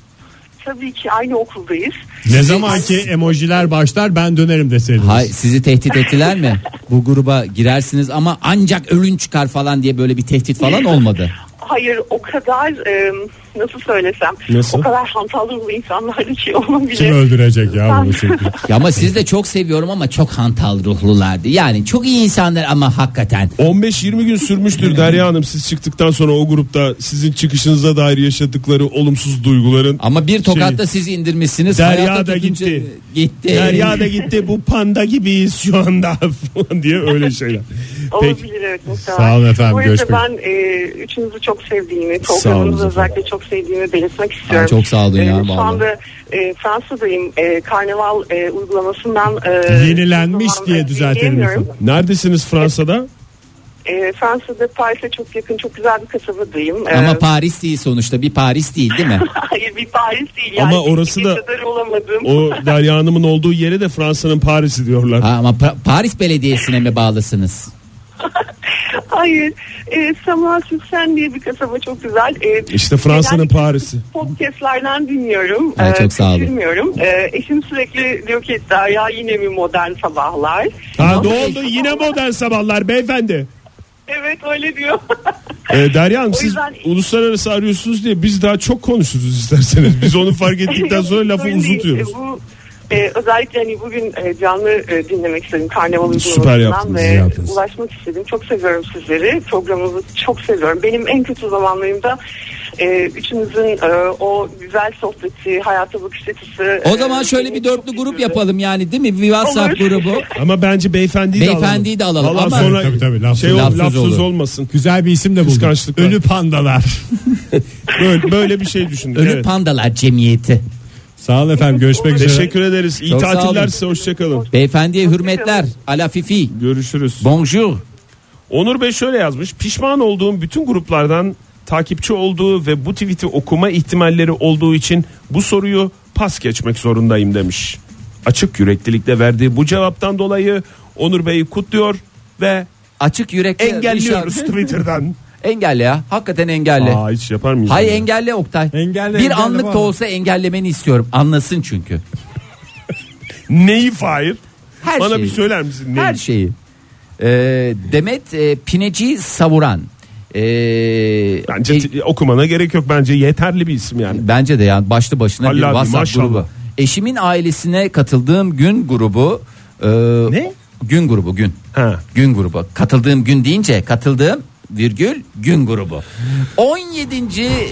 S7: Tabii ki aynı okuldayız.
S2: Ne zaman ki emojiler başlar ben dönerim deseydiniz.
S3: Hay, sizi tehdit ettiler mi? Bu gruba girersiniz ama ancak ölün çıkar falan diye böyle bir tehdit falan olmadı.
S7: Hayır o kadar e, nasıl söylesem
S4: Nasıl?
S7: o kadar hantal ruhlu insanlardı ki onun bile
S2: Kim öldürecek ya bunu çünkü.
S3: Ya ama siz de çok seviyorum ama çok hantal ruhlulardı. Yani çok iyi insanlar ama hakikaten.
S4: 15-20 gün sürmüştür Derya Hanım siz çıktıktan sonra o grupta sizin çıkışınıza dair yaşadıkları olumsuz duyguların.
S3: Ama bir tokatla siz indirmişsiniz.
S4: Derya
S3: Hayata
S4: da
S3: tutunca-
S4: gitti.
S3: Gitti.
S4: Derya da gitti bu panda gibiyiz şu anda falan diye öyle şeyler. Peki.
S7: Olabilir evet muhtemelen.
S2: Sağ olun efendim,
S7: Bu arada
S2: görüşmek
S7: ben e, üçünüzü çok sevdiğimi,
S4: olun
S7: programınızı
S4: efendim.
S7: özellikle çok sevdiğimi belirtmek istiyorum.
S3: Ay, çok sağ olun ya,
S7: Şu
S3: vallahi.
S7: anda e, Fransa'dayım. E, karnaval e, uygulamasından e,
S2: Yenilenmiş
S7: zaman
S2: diye
S7: önce
S2: düzeltelim
S7: diyemiyorum.
S2: efendim.
S4: Neredesiniz Fransa'da?
S7: E, Fransa'da Paris'e çok yakın çok güzel bir kasabadayım. E,
S3: Ama Paris değil sonuçta. Bir Paris değil değil mi?
S7: Hayır bir Paris değil.
S4: Ama
S7: yani.
S4: orası
S7: Gidecek
S4: da-
S7: kadar olamadım.
S4: O Derya Hanım'ın olduğu yere de Fransa'nın Paris'i diyorlar.
S3: Ha, ama Pa- Paris Belediyesi'ne mi bağlısınız?
S7: Hayır. E, Samuel Süksen diye bir kasaba çok güzel. E,
S4: İşte Fransa'nın
S7: genellikle
S4: Paris'i.
S7: Podcastlardan dinliyorum.
S3: Ay,
S7: Ee,
S3: çok sağ olun.
S7: kaçırmıyorum. Ee, eşim sürekli diyor ki ya yine mi modern sabahlar?
S4: Ha ne oldu yine modern sabahlar beyefendi.
S7: Evet öyle diyor.
S4: Ee, Derya Hanım
S7: O
S4: siz
S7: yüzden-
S4: uluslararası arıyorsunuz diye biz daha çok konuşuruz isterseniz. Biz onu fark ettikten sonra lafı
S7: Öyle değil.
S4: uzutuyoruz.
S7: Ee, Bu e, özellikle hani bugün e, canlı e, dinlemek istedim karnaval
S4: Süper yaptınız,
S7: uygulamasından ve
S4: iyi yaptınız.
S7: ulaşmak istedim. Çok seviyorum sizleri. Programınızı çok seviyorum. Benim en kötü zamanlarımda e, üçünüzün e, o güzel sohbeti, hayata bakış açısı.
S3: O
S7: e,
S3: zaman şöyle
S7: beni
S3: bir
S7: çok
S3: dörtlü grup
S7: güldürdü.
S3: yapalım yani değil mi? Bir WhatsApp
S7: Olur.
S3: grubu.
S4: Ama bence beyefendiyi de alalım.
S3: Beyefendiyi de alalım
S4: Valla
S3: ama-
S4: sonra
S2: Tabii, tabii, laf-
S4: şey ol,
S3: lafsız
S4: lafsız,
S3: olur.
S4: olmasın.
S2: Güzel bir isim de buldum.
S4: Kıskançlık var.
S2: Ölü pandalar.
S4: Böyle, böyle bir şey düşündük.
S3: Ölü
S4: evet.
S3: Pandalar Cemiyeti.
S2: Sağ olun efendim görüşmek üzere.
S4: Teşekkür ederiz. İyi
S3: Çok sağ olun.
S4: tatiller size hoşçakalın.
S3: Beyefendiye hürmetler. Ala Fifi.
S4: Görüşürüz.
S3: Bonjour.
S4: Onur Bey şöyle yazmış. Pişman olduğum bütün gruplardan takipçi olduğu ve bu tweet'i okuma ihtimalleri olduğu için bu soruyu pas geçmek zorundayım demiş. Açık yüreklilikle verdiği bu cevaptan dolayı Onur Bey'i kutluyor ve
S3: Açık yürekli.
S4: engelliyoruz
S3: Richard.
S4: Twitter'dan.
S3: engelle ya. Hakikaten engelle.
S4: Aa hiç yapar mıyız?
S3: Hay
S4: ya?
S3: engelle Oktay.
S2: Engelle,
S3: bir
S2: engelle
S3: anlık
S2: bana.
S3: da olsa engellemeni istiyorum. Anlasın çünkü.
S4: Neyi Fahir?
S3: Her
S4: Bana
S3: şeyi.
S4: bir söyler misin? Neyi?
S3: Her şey. şeyi. Ee, Demet e, Pineci Savuran. Ee,
S4: Bence
S3: e-
S4: t- okumana gerek yok. Bence yeterli bir isim yani.
S3: Bence de yani başlı başına bir
S4: Halil abi,
S3: WhatsApp
S4: maşallah.
S3: grubu. Eşimin ailesine katıldığım gün grubu. e,
S4: Ne?
S3: Gün grubu gün.
S4: Ha.
S3: Gün grubu. Katıldığım gün deyince katıldığım virgül gün grubu. 17.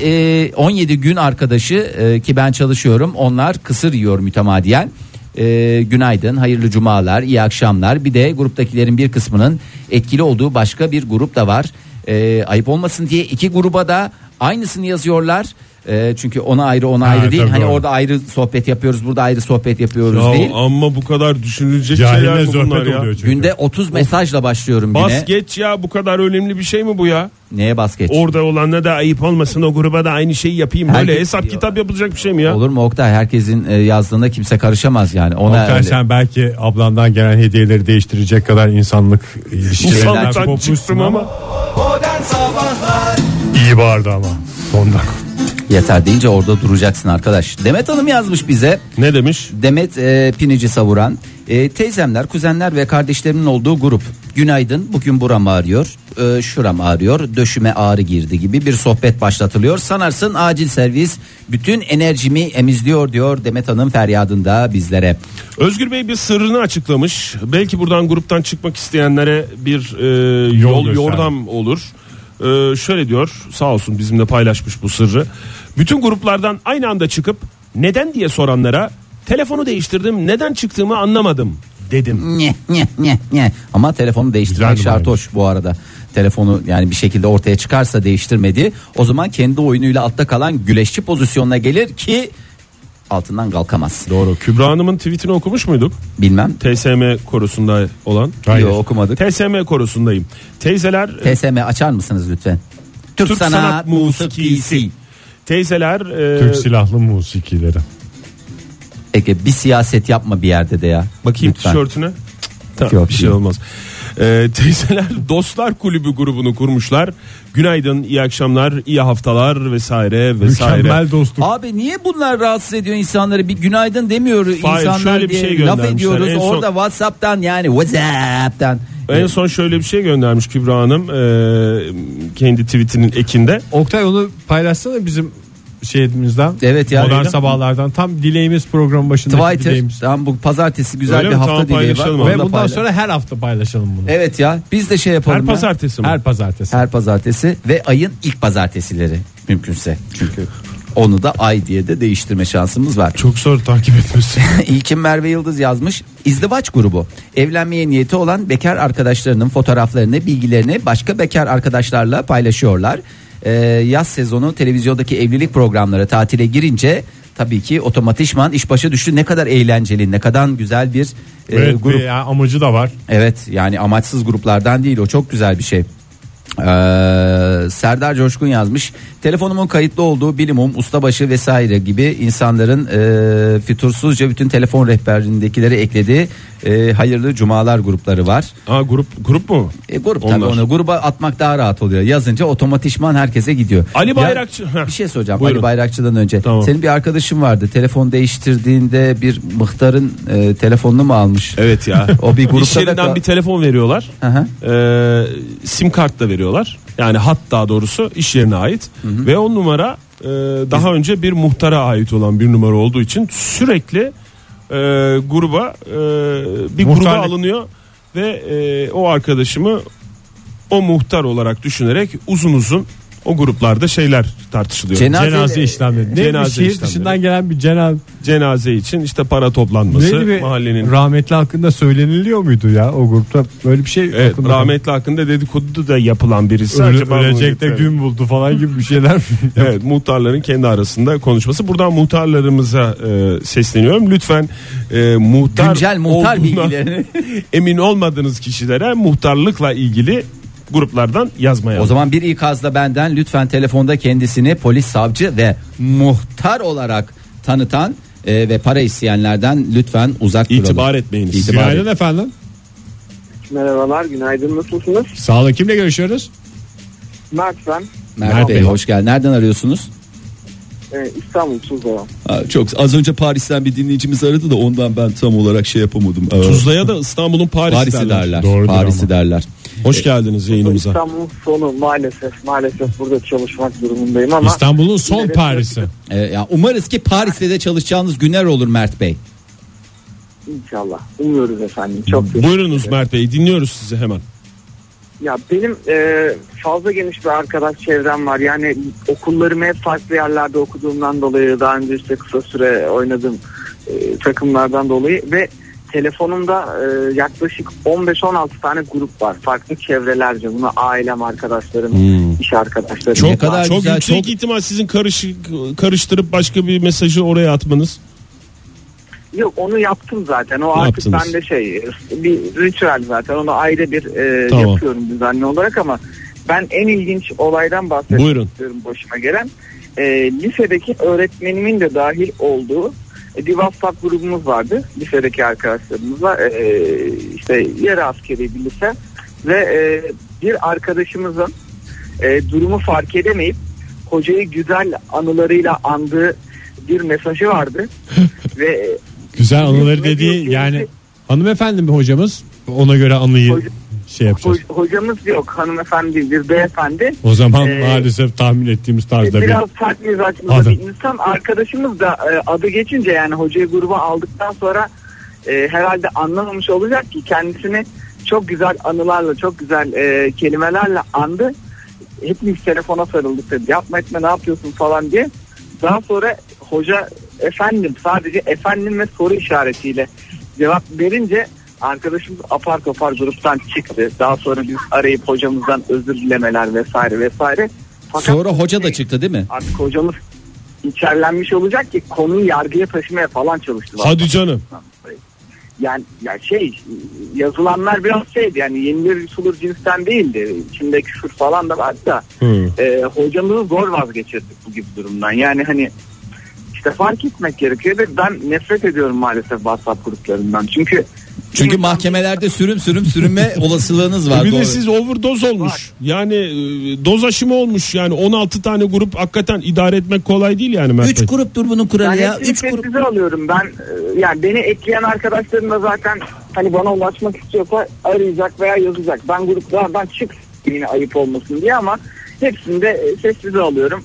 S3: e, 17 gün arkadaşı e, ki ben çalışıyorum onlar kısır yiyor mütemadiyen. E, günaydın, hayırlı cumalar, iyi akşamlar. Bir de gruptakilerin bir kısmının etkili olduğu başka bir grup da var. E, ayıp olmasın diye iki gruba da aynısını yazıyorlar. E, çünkü ona ayrı ona ayrı değil.
S2: tabii
S3: Hani
S2: doğru.
S3: orada ayrı sohbet yapıyoruz, burada ayrı sohbet yapıyoruz değil.
S4: Ya, ama bu kadar düşünülecek şeyler
S2: Cahille
S4: mi bunlar
S2: zöhbet
S4: ya?
S2: oluyor çünkü.
S3: Günde 30 mesajla başlıyorum
S4: Bas
S3: güne.
S4: geç ya bu kadar önemli bir şey mi bu ya?
S3: Neye basket?
S4: Orada olanla da ayıp olmasın o gruba da aynı şeyi yapayım.
S3: Herkes
S4: Böyle hesap
S3: biliyor.
S4: kitap yapılacak bir şey mi ya?
S3: Olur mu Oktay? Herkesin e, yazdığında kimse karışamaz yani. Ona
S2: Oktay
S3: öyle-
S2: sen belki ablandan gelen hediyeleri değiştirecek kadar insanlık ilişkilerinden
S4: İnsanlıktan
S2: kopmuşsun
S4: çıktım ama.
S2: iyi bağırdı ama sonda.
S3: yeter deyince orada duracaksın arkadaş. Demet Hanım yazmış bize.
S4: Ne demiş?
S3: Demet e, pinici savuran. E, teyzemler, kuzenler ve kardeşlerimin olduğu grup. Günaydın. Bugün buram ağrıyor. E, şuram ağrıyor. Döşüme ağrı girdi gibi bir sohbet başlatılıyor. Sanarsın acil servis bütün enerjimi emizliyor diyor Demet Hanım feryadında bizlere.
S4: Özgür Bey bir sırrını açıklamış. Belki buradan gruptan çıkmak isteyenlere bir e, yol,
S2: gösterdi.
S4: yordam olur. E, şöyle diyor sağ olsun bizimle paylaşmış bu sırrı. Bütün gruplardan aynı anda çıkıp neden diye soranlara telefonu değiştirdim neden çıktığımı anlamadım dedim.
S3: Nye, nye, nye, nye. Ama telefonu değiştirmek
S2: Güzel
S3: şart hoş bu arada. Telefonu yani bir şekilde ortaya çıkarsa değiştirmedi. O zaman kendi oyunuyla altta kalan güleşçi pozisyonuna gelir ki altından kalkamaz.
S4: Doğru. Kübra Hanım'ın tweetini okumuş muyduk?
S3: Bilmem.
S4: TSM korusunda olan.
S3: Hayır. Yo, okumadık.
S4: TSM korusundayım. Teyzeler e,
S3: TSM açar mısınız lütfen? Türk,
S4: Türk
S3: sanat,
S4: sanat musikisi.
S3: musikisi.
S4: Teyzeler e,
S2: Türk silahlı musikileri.
S3: Ege bir siyaset yapma bir yerde de ya.
S4: Bakayım
S3: Lütfen.
S4: tişörtüne. Tamam,
S3: Yok,
S4: bir şey
S3: yok.
S4: olmaz. Ee, teyzeler Dostlar Kulübü grubunu kurmuşlar. Günaydın, iyi akşamlar, iyi haftalar vesaire vesaire.
S2: Mükemmel dostluk.
S3: Abi niye bunlar rahatsız ediyor insanları? Bir günaydın demiyor insanlar
S4: şöyle bir
S3: diye
S4: şey
S3: laf
S4: göndermişler.
S3: ediyoruz.
S4: En son-
S3: Orada WhatsApp'tan yani WhatsApp'tan.
S4: En son şöyle bir şey göndermiş Kübra Hanım ee, kendi tweetinin ekinde.
S2: Oktay onu paylaşsana bizim şeyimizden.
S3: Evet ya.
S2: Modern
S3: Öyle.
S2: sabahlardan tam dileğimiz program başındaki
S3: Twitter.
S2: dileğimiz.
S3: Tamam bu pazartesi güzel
S4: Öyle
S3: bir
S4: mi?
S3: hafta
S4: Tamam,
S3: dileği var.
S4: paylaşalım
S3: Onu
S4: abi.
S2: Ve
S3: da
S2: bundan
S3: paylaş-
S2: sonra her hafta paylaşalım bunu.
S3: Evet ya biz de şey yapalım.
S4: Her
S3: ya.
S4: pazartesi mi?
S2: Her pazartesi.
S3: Her pazartesi ve ayın ilk pazartesileri mümkünse. Çünkü onu da ay diye de değiştirme şansımız var.
S4: Çok zor takip etmesi.
S3: İlkin Merve Yıldız yazmış. İzdivaç grubu. Evlenmeye niyeti olan bekar arkadaşlarının fotoğraflarını, bilgilerini başka bekar arkadaşlarla paylaşıyorlar. Ee, yaz sezonu televizyondaki evlilik programları tatile girince tabii ki otomatikman iş başa düştü. Ne kadar eğlenceli, ne kadar güzel bir e,
S2: Evet,
S3: grup.
S2: bir ya- amacı da var.
S3: Evet yani amaçsız gruplardan değil o çok güzel bir şey. Ee, Serdar Coşkun yazmış telefonumun kayıtlı olduğu bilimum ustabaşı vesaire gibi insanların e, fütursuzca bütün telefon rehberindekileri eklediği e, hayırlı cumalar grupları var.
S4: Aa grup grup mu?
S3: E, grup
S4: Onlar.
S3: tabii onu gruba atmak daha rahat oluyor yazınca otomatikman herkese gidiyor.
S4: Ali
S3: Ya,
S4: Bayrakçı- Heh.
S3: bir şey soracağım
S4: Buyurun.
S3: Ali Bayrakçı'dan önce
S4: Tamam.
S3: senin bir arkadaşın vardı telefon değiştirdiğinde bir mıhtarın e, telefonunu mu almış?
S4: Evet ya.
S3: O bir grupta
S4: İş yerinden
S3: da kal-
S4: bir telefon veriyorlar.
S3: Hı hı.
S4: Ee, sim kart da veriyorlar. Yani hat daha doğrusu iş yerine ait. Ve o numara e, daha önce bir muhtara ait olan bir numara olduğu için sürekli e, gruba e, bir gruba
S2: Muhtarlık.
S4: alınıyor ve e, o arkadaşımı o muhtar olarak düşünerek uzun uzun o gruplarda şeyler tartışılıyor.
S3: Cenaze-
S2: Cenaze işlemleri. Ne
S4: Cenaze
S2: bir şehir
S4: işlemleri.
S2: dışından gelen bir cenaze.
S4: Cenaze için işte para toplanması
S2: Neydi bir
S4: mahallenin
S2: rahmetli hakkında söyleniliyor muydu ya o grupta böyle bir şey
S4: Evet,
S2: aklımda-
S4: rahmetli hakkında dedikodu da yapılan birisi.
S2: Öle-
S4: Acaba bunu
S2: ölecek de
S4: getirelim.
S2: gün buldu falan gibi bir şeyler.
S4: Evet muhtarların kendi arasında konuşması. Buradan muhtarlarımıza e, sesleniyorum. Lütfen e, muhtar
S3: Güncel muhtar
S4: olduğuna
S3: bilgilerini.
S4: emin olmadığınız kişilere muhtarlıkla ilgili gruplardan yazmaya.
S3: O zaman bir ikazla benden lütfen telefonda kendisini polis, savcı ve muhtar olarak tanıtan e, ve para isteyenlerden lütfen uzak duralım.
S4: itibar etmeyiniz.
S3: İtibar-
S2: Günaydın efendim.
S5: Merhabalar, günaydın. Nasılsınız?
S2: Sağ olun kimle görüşüyoruz?
S5: Mert ben.
S3: Mert Bey hoş geldin. Nereden arıyorsunuz?
S5: Ee, İstanbul Tuzla.
S3: çok az önce Paris'ten bir dinleyicimiz aradı da ondan ben tam olarak şey yapamadım.
S4: Tuzla'ya da İstanbul'un Paris'i,
S3: Paris'i derler. E,
S2: Doğrudur
S3: Paris'i
S2: ama.
S3: derler.
S4: Hoş geldiniz yayınımıza.
S5: İstanbul'un sonu maalesef. Maalesef burada çalışmak durumundayım ama
S2: İstanbul'un son Paris'i.
S3: E, ya umarız ki Paris'te de çalışacağınız günler olur Mert Bey.
S5: inşallah. Umuyoruz efendim. Çok teşekkür
S4: Buyurunuz Mert Bey dinliyoruz sizi hemen.
S5: Ya benim e, fazla geniş bir arkadaş çevrem var. Yani okullarımı hep farklı yerlerde okuduğumdan dolayı daha önce işte kısa süre oynadığım e, takımlardan dolayı ve telefonumda e, yaklaşık 15-16 tane grup var. Farklı çevrelerce. Buna ailem, arkadaşlarım,
S3: Hmm.
S5: iş arkadaşlarım.
S4: Çok,
S3: Ne kadar
S4: çok
S3: güzel,
S4: yüksek
S3: çok-
S4: ihtimal sizin karışık, karıştırıp başka bir mesajı oraya atmanız.
S5: Yok onu yaptım zaten. O
S4: Ne
S5: artık
S4: yaptınız?
S5: bende şey bir ritüel zaten. Onu ayrı bir e,
S4: Tamam.
S5: yapıyorum düzenli olarak ama ben en ilginç olaydan bahsetmek
S4: Buyurun.
S5: istiyorum başıma gelen. E, lisedeki öğretmenimin de dahil olduğu e, bir WhatsApp grubumuz vardı. Lisedeki arkadaşlarımızla e, işte yarı askeri bir lise ve e, bir arkadaşımızın e, durumu fark edemeyip hocayı güzel anılarıyla andığı bir mesajı vardı. ve e,
S2: Güzel anıları dediği yani hanımefendi mi hocamız? Ona göre anıyı
S5: Hoca-
S2: şey yapacağız.
S5: Ho- hocamız yok hanımefendi bir beyefendi.
S2: O zaman
S5: Ee,
S2: maalesef tahmin ettiğimiz tarzda bir
S5: Biraz sert mizaçlı
S2: Adam.
S5: bir insan. Arkadaşımız da e, adı geçince yani hocayı gruba aldıktan sonra e, herhalde anlamamış olacak ki kendisini çok güzel anılarla çok güzel e, kelimelerle andı. Hepimiz telefona sarıldık dedi. Yapma etme ne yapıyorsun falan diye. Daha sonra hoca efendim sadece efendim ve soru işaretiyle cevap verince arkadaşımız apar topar gruptan çıktı. Daha sonra biz arayıp hocamızdan özür dilemeler vesaire vesaire. Fakat
S3: Sonra hoca da çıktı değil mi?
S5: artık hocamız içerlenmiş olacak ki konuyu yargıya taşımaya falan çalıştı.
S4: Hadi canım.
S5: Yani ya şey yazılanlar biraz şeydi yani yenilir sulur cinsten değildi. İçinde küfür falan da vardı da
S4: Hı.
S5: e, hocamızı zor vazgeçirdik bu gibi durumdan. Yani hani işte fark etmek gerekiyor ve ben nefret ediyorum maalesef WhatsApp gruplarından. Çünkü
S3: Çünkü mahkemelerde sürüm sürüm sürünme olasılığınız var.
S4: E bir de
S3: doğru.
S4: siz overdose olmuş. Yani e, doz aşımı olmuş. Yani 16 tane grup hakikaten idare etmek kolay değil yani Mert
S3: Üç
S4: Bey.
S3: grup dur bunun
S5: ben
S3: kuralı ya.
S5: hepsini
S3: Üç grup.
S5: sessize alıyorum. Ben e, yani beni ekleyen arkadaşlarım da zaten hani bana ulaşmak istiyorsa arayacak veya yazacak. Ben gruplardan çık yine ayıp olmasın diye ama hepsini de e, sessize alıyorum.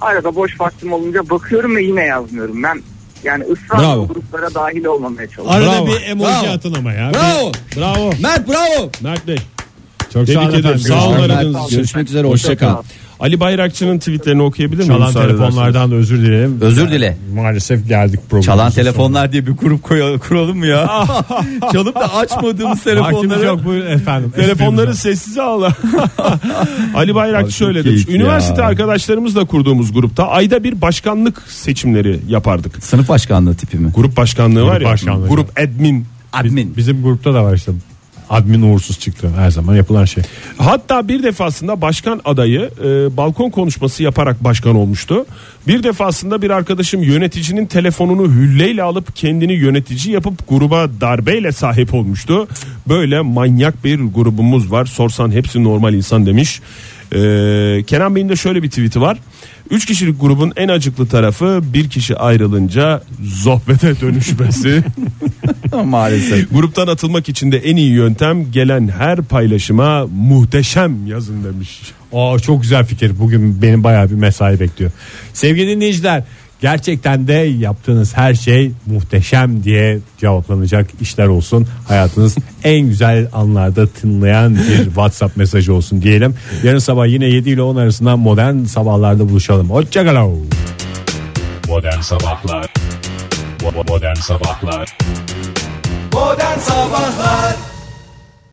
S5: Arada boş vaktim olunca bakıyorum ve yine yazmıyorum. Ben yani ısrarla
S3: Bravo.
S5: o gruplara dahil olmamaya çalışıyorum.
S2: arada
S4: Bravo.
S2: bir emoji
S3: Bravo.
S2: atın ama ya.
S3: Bravo.
S2: Bir- Bravo.
S3: Mert bravo.
S4: Mert Bey.
S2: Çok
S4: Tebrik
S2: sağ olun
S4: ederim.
S2: efendim.
S4: Sağ olun
S2: Görüşmek üzere.
S4: aradığınız için.
S3: Görüşmek üzere hoşça kal.
S4: Ali Bayrakçı'nın tweetlerini okuyabilir miyim?
S2: Çalan
S4: müsaade ederseniz?
S2: telefonlardan da özür dilerim.
S3: Özür dile.
S2: Maalesef geldik programımızın
S3: Çalan
S2: sonuna.
S3: telefonlar diye bir grup koyalım, kuralım mı ya? Çalıp da açmadığımız
S2: Ah. Vaktimiz
S3: telefonları.
S2: yok buyurun efendim.
S4: Telefonları sessize al. Ali Bayrakçı
S3: Abi çok
S4: şöyle demiş.
S3: keyifli ya.
S4: Üniversite arkadaşlarımızla kurduğumuz grupta ayda bir başkanlık seçimleri yapardık.
S3: Sınıf başkanlığı tipi mi?
S4: Grup başkanlığı var ya.
S2: başkanlığı.
S4: Grup admin.
S3: Admin.
S2: Bizim grupta da var işte. Admin uğursuz çıktı her zaman yapılan şey.
S4: Hatta bir defasında başkan adayı e, balkon konuşması yaparak başkan olmuştu. Bir defasında bir arkadaşım yöneticinin telefonunu hülleyle alıp kendini yönetici yapıp gruba darbeyle sahip olmuştu. Böyle manyak bir grubumuz var. Sorsan hepsi normal insan demiş. E, Kenan Bey'in de şöyle bir tweet'i var. Üç kişilik grubun en acıklı tarafı bir kişi ayrılınca sohbete dönüşmesi.
S3: Maalesef.
S4: Gruptan atılmak için de en iyi yöntem gelen her paylaşıma muhteşem yazın demiş.
S2: Aa çok güzel fikir. Bugün benim bayağı bir mesai bekliyor. Sevgili dinleyiciler, gerçekten de yaptığınız her şey muhteşem diye cevaplanacak işler olsun. Hayatınız en güzel anlarda tınlayan bir WhatsApp mesajı olsun diyelim. Yarın sabah yine 7 ile 10 arasında modern sabahlarda buluşalım. Hoşçakalın.
S8: Modern Sabahlar Bo- bo- Modern Sabahlar
S9: Modern Sabahlar